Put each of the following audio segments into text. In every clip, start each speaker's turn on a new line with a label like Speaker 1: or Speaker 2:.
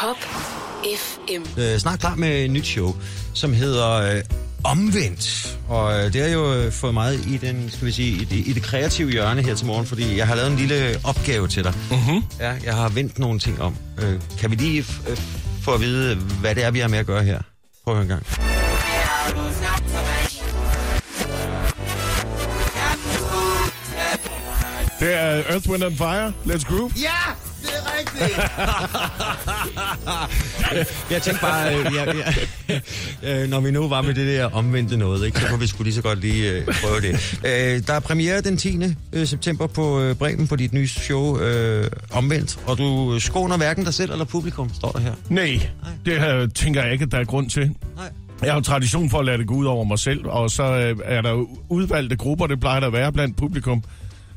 Speaker 1: Pop FM.
Speaker 2: øh, snart klar med et nyt show, som hedder øh, Omvendt. Og øh, det har jo øh, fået meget i, den, skal vi sige, i, det, i det kreative hjørne her til morgen, fordi jeg har lavet en lille opgave til dig. Uh-huh. Ja, jeg har vendt nogle ting om. Øh, kan vi lige f- øh, få at vide, hvad det er, vi har med at gøre her? Prøv at høre en gang.
Speaker 3: Det er Earth, Wind and Fire. Let's groove.
Speaker 4: Ja, det er rigtigt.
Speaker 2: Jeg tænkte bare, øh, ja, ja, øh, når vi nu var med det der omvendte noget, ikke, så kunne vi skulle lige så godt lige øh, prøve det. Øh, der er premiere den 10. øh, september på øh, Bremen på dit nye show øh, Omvendt, og du øh, skåner hverken dig selv eller publikum, står der her.
Speaker 3: Nej, det her tænker jeg ikke, at der er grund til.
Speaker 2: Nej.
Speaker 3: Jeg har jo tradition for at lade det gå ud over mig selv, og så øh, er der jo udvalgte grupper, det plejer der at være blandt publikum,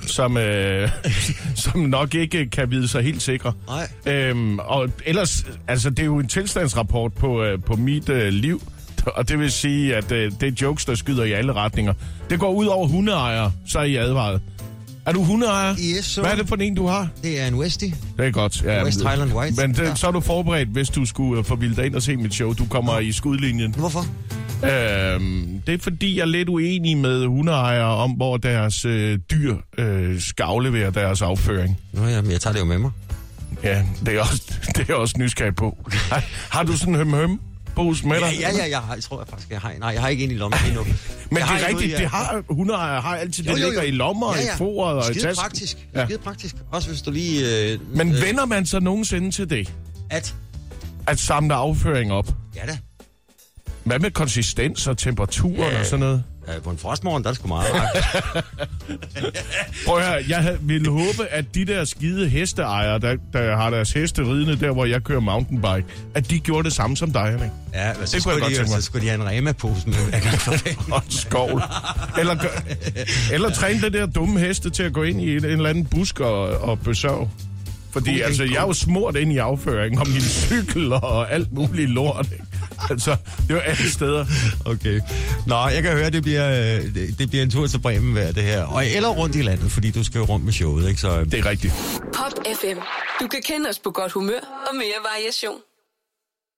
Speaker 3: som, øh, som nok ikke kan vide sig helt sikre.
Speaker 2: Nej.
Speaker 3: Øhm, og ellers, altså det er jo en tilstandsrapport på, øh, på mit øh, liv, og det vil sige, at øh, det er jokes, der skyder i alle retninger. Det går ud over hundeejere, så er I advaret. Er du hundeejer?
Speaker 2: Yes, sir.
Speaker 3: Hvad er det for en, du har?
Speaker 2: Det er en Westie.
Speaker 3: Det er godt. Ja,
Speaker 2: West Highland White.
Speaker 3: Men det,
Speaker 2: Ja.
Speaker 3: så er du forberedt, hvis du skulle øh, forvilde dig ind og se mit show. Du kommer i skudlinjen.
Speaker 2: Hvorfor?
Speaker 3: Øhm, det er fordi, jeg er lidt uenig med hundeejere om, hvor deres øh, dyr øh, skal aflevere deres afføring.
Speaker 2: Nå ja, men jeg tager det jo med mig.
Speaker 3: Ja, det er også, det er jeg også nysgerrig på. Har, har du sådan en høm-høm? pose med dig?
Speaker 2: Ja, ja, ja jeg, har, jeg tror jeg faktisk, jeg har en. Nej, jeg har ikke en i lommen endnu.
Speaker 3: Men
Speaker 2: jeg
Speaker 3: det
Speaker 2: har
Speaker 3: er
Speaker 2: en ude i-
Speaker 3: rigtigt, det har hundeejere har altid, det ligger i lommer, ja, ja. i foret og i
Speaker 2: Skide
Speaker 3: tasken.
Speaker 2: praktisk.
Speaker 3: Ja.
Speaker 2: Ja. Skide praktisk. Også hvis du lige... Øh,
Speaker 3: Men
Speaker 2: øh,
Speaker 3: vender man så nogensinde til det,
Speaker 2: At...
Speaker 3: at samle afføring op?
Speaker 2: Ja da.
Speaker 3: Hvad med konsistens og temperaturen
Speaker 2: Ja.
Speaker 3: og sådan noget?
Speaker 2: Ja, Øh, på en frostmorgen, der er det sgu meget.
Speaker 3: Prøv her, jeg havde- ville håbe, at de der skide hesteejere, der, der har deres heste ridende der, hvor jeg kører mountainbike, at de gjorde det samme som dig, ikke?
Speaker 2: Ja, men så,
Speaker 3: Det kunne jeg
Speaker 2: skulle
Speaker 3: godt
Speaker 2: de,
Speaker 3: tænke mig.
Speaker 2: så skulle de have en Rema-pose med hver gang for fanden.
Speaker 3: Og en skovl. Eller, gør- eller træne det der dumme heste til at gå ind i en, en eller anden busk og, og besørge. Fordi
Speaker 2: God idé,
Speaker 3: altså, jeg er jo smurt ind i afføringen om min cykel og alt muligt lort. Ikke? Altså, det var alle steder.
Speaker 2: Okay. Nå, jeg kan høre, det bliver, øh, det, det bliver en tur til Bremen hver det her. Og, eller rundt i landet, fordi du skal jo rundt med showet, ikke? Så, øh,
Speaker 3: Det er rigtigt.
Speaker 1: Pop FM. Du kan kende os på godt humør og mere variation.